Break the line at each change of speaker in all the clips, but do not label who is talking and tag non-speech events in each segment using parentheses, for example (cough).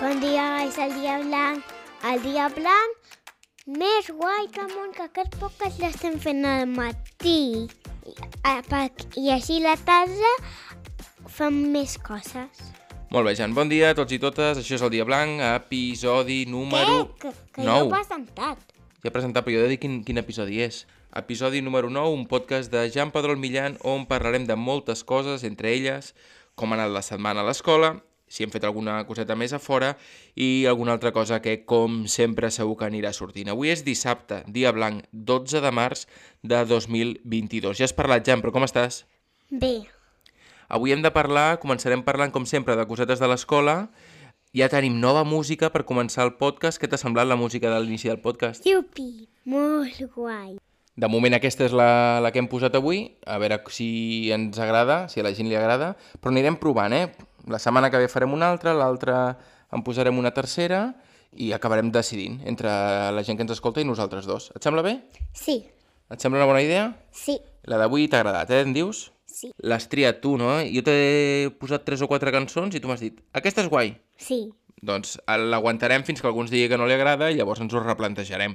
Bon dia, és el dia blanc. El dia blanc més guai que món que aquest podcast l'estem fent al matí. I, a- pa- I així la tarda fem més coses.
Molt bé, Jan, bon dia a tots i totes. Això és el Dia Blanc, episodi número...
Eh, que, que
nou.
jo he presentat.
Ja he presentat, però jo he de dir quin, quin episodi és. Episodi número 9, un podcast de Jan Pedrol Millan, on parlarem de moltes coses, entre elles com ha anat la setmana a l'escola, si hem fet alguna coseta més a fora i alguna altra cosa que, com sempre, segur que anirà sortint. Avui és dissabte, dia blanc, 12 de març de 2022. Ja has parlat, Jan, però com estàs?
Bé,
Avui hem de parlar, començarem parlant, com sempre, de cosetes de l'escola. Ja tenim nova música per començar el podcast. Què t'ha semblat la música de l'inici del podcast?
iupi, molt guai.
De moment aquesta és la, la que hem posat avui. A veure si ens agrada, si a la gent li agrada. Però anirem provant, eh? La setmana que ve farem una altra, l'altra en posarem una tercera i acabarem decidint entre la gent que ens escolta i nosaltres dos. Et sembla bé?
Sí,
Et sembla una bona idea?
sí,
La d'avui t'ha agradat, eh? Em dius?
sí,
L'has triat tu, no? Jo t'he posat tres o quatre cançons i tu m'has dit aquesta és guai.
sí.
Doncs eh, l'aguantarem fins que algú ens digui que no li agrada i llavors ens ho replantejarem.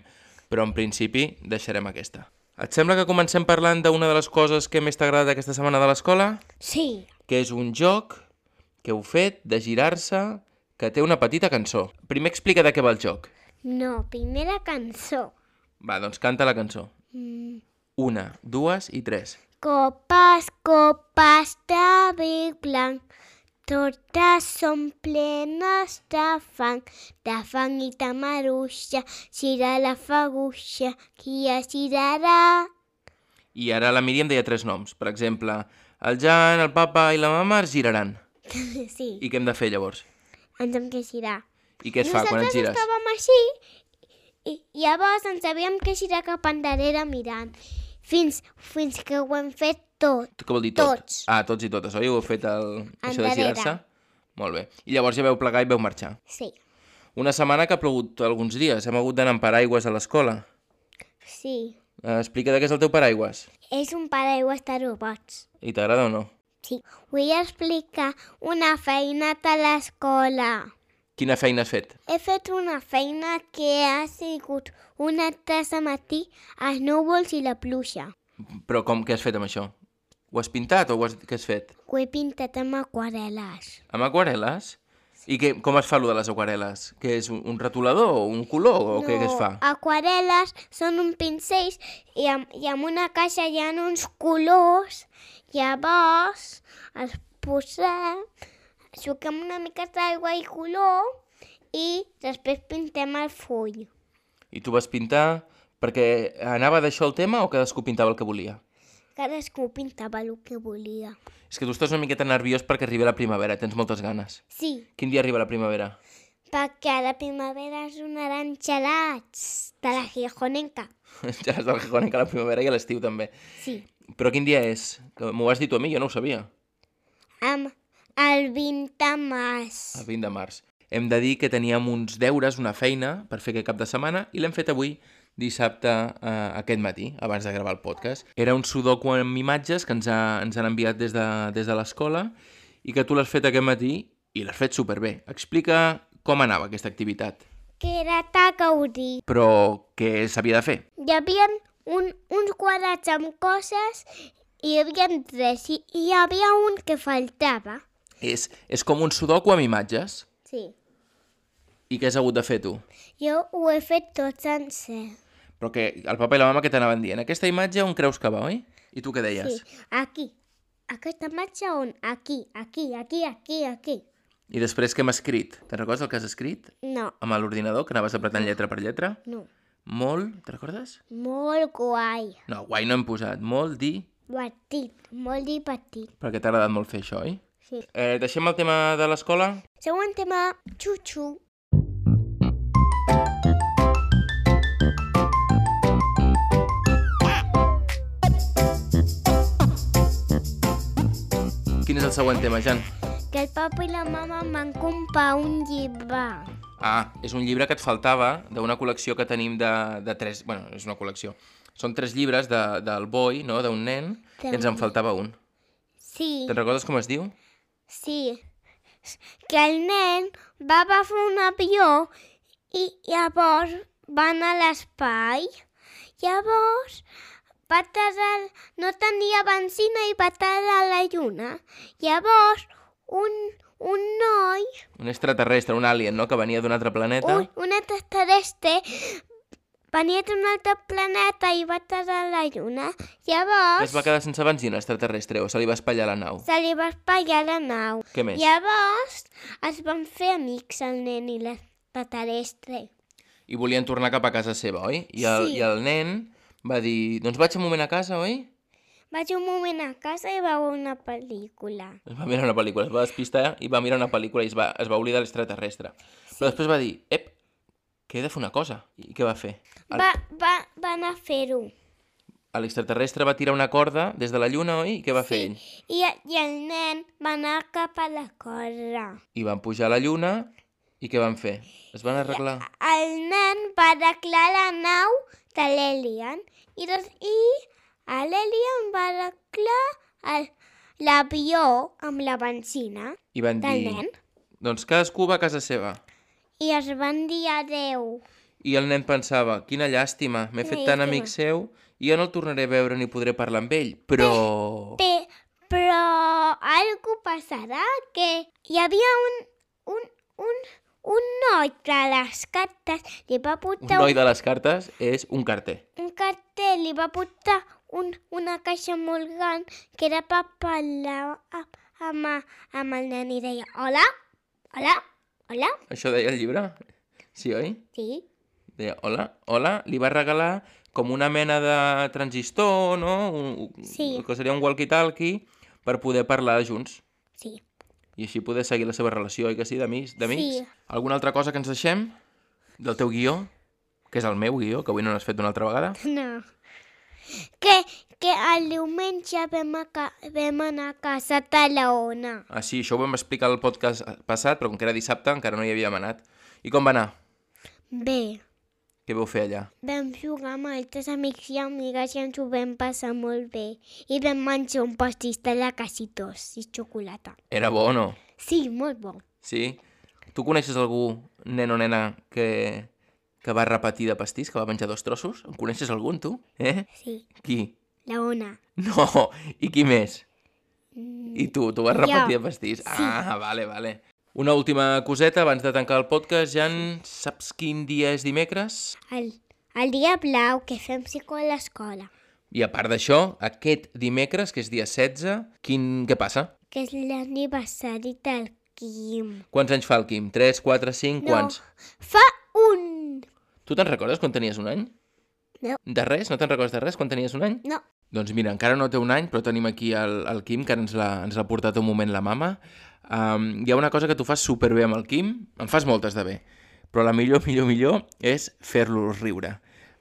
Però en principi deixarem aquesta. Et sembla que comencem parlant d'una de les coses que més t'ha agradat aquesta setmana de l'escola?
Sí,
Que és un joc que heu fet de girar-se que té una petita cançó. Primer explica de què va el joc.
no, primera cançó.
Va, doncs canta la cançó.
Mm.
Una, dues i tres.
Copas, copas de Big Blanc, totes són plenes de fang, de fang i de maruixa, gira la faguixa, qui es girarà? (laughs)
I ara la Míriam deia tres noms. Per exemple, el Jan, el papa i la mama es giraran.
Sí,
I què hem de fer llavors?
ens hem que girar.
I què es fa quan et
Nosaltres
gires?
estàvem així i i llavors ens havíem que girar cap endarrere mirant, fins, fins que ho hem fet tot.
Què vol dir tot?
Tots.
Ah, tots i totes, oi? Heu fet el... això de
Endarrere.
girar-se? Molt bé. I llavors ja veu plegar i veu marxar.
Sí,
Una setmana que ha plogut alguns dies. Hem hagut d'anar amb paraigües a l'escola.
sí.
Eh, Explica de què és el teu paraigües.
És un paraigües de robots.
I t'agrada o no?
Sí, vull explicar una feina a l'escola.
Quina feina has fet?
He fet una feina que ha sigut una tassa matí, els núvols i la pluja.
Però com, què has fet amb això? Ho has pintat o ho has... què has fet?
Ho he pintat amb aquarel·les.
Amb aquarel·les? I què, com es fa lo de les aquarel·les? Que és un, un retolador o un color o què, què es fa?
aquarel·les són un pincells i amb, i amb una caixa hi ha uns colors. Llavors els posem, suquem una mica d'aigua i color i després pintem el full.
I tu vas pintar perquè anava d'això el tema o cadascú pintava el que volia?
Cadascú pintava el que volia.
És que tu estàs una miqueta nerviós perquè arribi la primavera, tens moltes ganes.
Sí,
Quin dia arriba la primavera? (laughs)
perquè a la primavera es donaran gelats de la Gijonenca.
Ja has del Gijón que la primavera i a l'estiu també.
Sí,
Però quin dia és? Que M'ho vas dir tu a mi, jo no ho sabia.
amb el 20 de març.
El 20 de març. Hem de dir que teníem uns deures, una feina per fer aquest cap de setmana i l'hem fet avui, dissabte, eh, aquest matí, abans de gravar el podcast. Era un sudoku amb imatges que ens, ha, ens han enviat des de, des de l'escola i que tu l'has fet aquest matí i l'has fet superbé. Explica com anava aquesta activitat,
Que era de gaudir.
però què s'havia de fer.
Hi havia un, uns quadrats amb coses i hi havia tres i i hi havia un que faltava.
És, és com un sudoku amb imatges.
Sí,
I què has hagut de fer tu?
jo ho he fet tot sencer.
Però que el papa i la mama que t'anaven dient, aquesta imatge on creus que va, oi? I tu què deies?
Sí, aquí. Aquesta marxa on? Aquí, aquí, aquí, aquí, aquí.
I després què hem escrit? Te'n recordes el que has escrit?
No,
Amb l'ordinador, que anaves apretant lletra per lletra?
no.
Molt, te'n recordes?
Molt guai.
No, guai no hem posat. Molt dir,
Divertit, molt divertit.
perquè t'ha agradat molt fer això, oi?
Sí.
Eh, deixem el tema de l'escola?
Següent tema, xutxu.
Quin és el següent tema, Jan?
Que el papa i la mama van comprar un llibre.
Ah, és un llibre que et faltava d'una col·lecció que tenim de, de tres... Bueno, és una col·lecció. Són tres llibres de, del boi, no?, d'un nen, i ens en faltava un.
Sí,
Te'n recordes com es diu?
sí. que el nen va agafar un avió i llavors va anar a l'espai. Llavors va aterrar, no tenia benzina i va aterrar a la lluna. Llavors un, un noi,
Un extraterrestre, un alien, no?, que venia d'un altre planeta.
un, un extraterrestre, venia d'un altre planeta i va aterrar a la lluna.
Es
Llavors
va quedar sense benzina, l'extratraterrestre, o se li va espatllar la nau.
se li va espallar la nau.
Què més?
Llavors es van fer amics el nen i l'extraterrestre.
I volien tornar cap a casa seva, oi? I el,
Sí.
I el nen va dir, doncs vaig un moment a casa, oi?
Vaig un moment a casa i veure una pel·lícula.
Es va mirar una pel·lícula, es va despistar i va mirar una pel·lícula i es va, es va oblidar l'extraterrestre. Sí. Però després va dir, ep, que he de fer una cosa. I què va fer? El-
Va, va, va anar a fer-ho.
L'extraterrestre va tirar una corda des de la lluna, oi? I què va fer ell?
I, I el nen va anar cap a la corda.
I van pujar a la lluna i què van fer? Es van arreglar.
El nen va arreglar la nau de l'Elian i, des- i l'Elian va arreglar el- l'avió amb la benzina
I van
del
dir,
nen
doncs cadascú va a casa seva.
i es van dir adeu.
I el nen pensava, quina llàstima, m'he fet
Quina
tan
llàstima."
amic seu i ja no el tornaré a veure ni podré parlar amb ell, però...
Pe, però algú passarà que hi havia un, un, un, un noi de les cartes, li va
Un
portar un,
noi de les cartes és un carter.
un, cartell, li va portar un, una caixa molt gran que era per parlar amb, amb, amb el nen i deia hola, hola, hola,
Això deia el llibre? Sí, oi?
sí,
Deia, hola, hola, li va regalar com una mena de transistor, no? Un, un-
Sí.
El que seria un walkie-talkie per poder parlar junts
sí. (laughs)
i així poder seguir la seva relació, oi que sí, d'amics? d'amics?
Sí.
Alguna altra cosa que ens deixem del teu guió? Que és el meu guió, que avui no n'has fet una altra vegada.
No. Que, que el diumenge vam, a ca, vam anar a casa a Talaona.
Ah, sí, això ho vam explicar al podcast passat, però com que era dissabte encara no hi havia demanat. I com va anar?
Bé.
Què vau fer allà?
Vam jugar amb altres amics i amigues i ens ho vam passar molt bé. I vam menjar un pastís de la Casitos i xocolata.
Era bo o no?
Sí, molt bo.
Sí? Tu coneixes algú, nen o nena, que, que va repetir de pastís, que va menjar dos trossos? En coneixes algun, tu? Eh?
Sí,
Qui?
la Ona.
No! I qui més? I tu, tu vas
Jo.
repetir de pastís? Ah, vale, vale. Una última coseta abans de tancar el podcast. Jan, saps quin dia és dimecres?
El, el dia blau que fem psico a l'escola,
I a part d'això, aquest dimecres, que és dia 16, quin... què passa?
que és l'aniversari del Quim.
Quants anys fa el Quim? 3, 4, 5, quants?
Fa un...
Tu te'n recordes quan tenies un any?
No.
De res? No te'n recordes de res quan tenies un any?
No,
Doncs mira, encara no té un any, però tenim aquí el, el Quim, que ara ens l'ha ens l'ha portat un moment la mama. Um, hi ha una cosa que tu fas superbé amb el Quim, en fas moltes de bé, però la millor, millor, millor és fer-lo riure.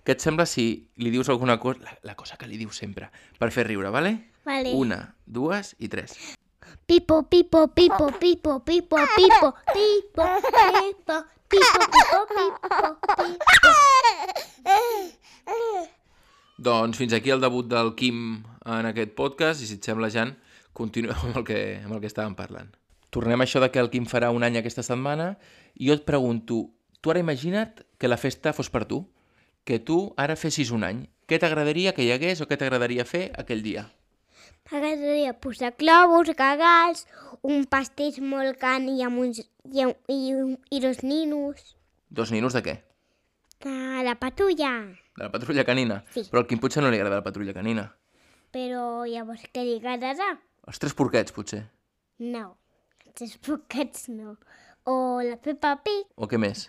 Què et sembla si li dius alguna cosa, la, la cosa que li dius sempre, per fer riure, vale?
vale.
Una, dues i tres.
Pipo, pipo, pipo, pipo, pipo, pipo, pipo, pipo, pipo, pipo, pipo, pipo.
Doncs fins aquí el debut del Quim en aquest podcast i si et sembla, Jan, continuem amb el que, amb el que estàvem parlant. Tornem a això de que el Quim farà un any aquesta setmana i jo et pregunto, tu ara imagina't que la festa fos per tu, que tu ara fessis un any. Què t'agradaria que hi hagués o què t'agradaria fer aquell dia?
M'agradaria posar globus, cagals, un pastís molt gran i, amb uns, i, un- i, un- i dos ninos
Dos ninos de què?
de la patulla.
De la patrulla canina.
Sí.
Però al Quim potser no li agrada la patrulla canina.
Però llavors què li agradarà?
Els tres porquets, potser.
No, els poquets no. O la Peppa Pig,
O què més?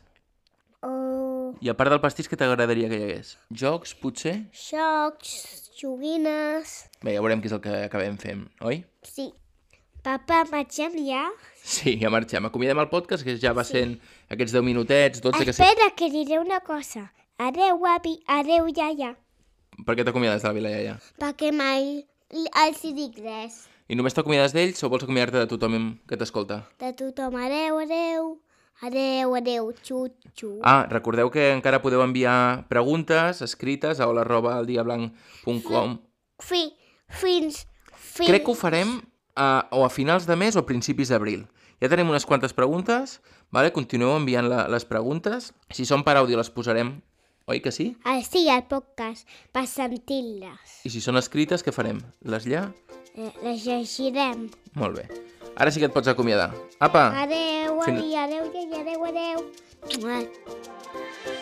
o
I a part del pastís, què t'agradaria que hi hagués? Jocs, potser?
xocs, joguines...
Bé, ja veurem què és el que acabem fent, oi?
Sí. Papa, marxem ja?
Sí, ja marxem. Acomiem el podcast, que ja va sí. sent aquests 10 minutets, 12 que sé.
Espera, que diré una cosa. Adeu, avi, adeu, iaia.
Per què t'acomiades de la Vila Iaia?
Perquè mai els hi dic res.
I només t'acomiades d'ells o vols acomiadar-te de tothom que t'escolta?
de tothom. Adeu, adeu, adeu, adeu, xutxu.
Ah, recordeu que encara podeu enviar preguntes escrites a hola.eldiablanc.com
Fi, fins, fins...
Crec que ho farem a, o a finals de mes o principis d'abril. Ja tenim unes quantes preguntes, vale? continueu enviant la, les preguntes. Si són per àudio les posarem, oi que sí?
Així Ah, al podcast, per sentir-les.
I si són escrites, què farem? Les lla?
Eh, Les llegirem.
Molt bé. Ara sí que et pots acomiadar. Apa!
Adeu,
Fins-
adeu, adeu, adeu, adeu. Mua.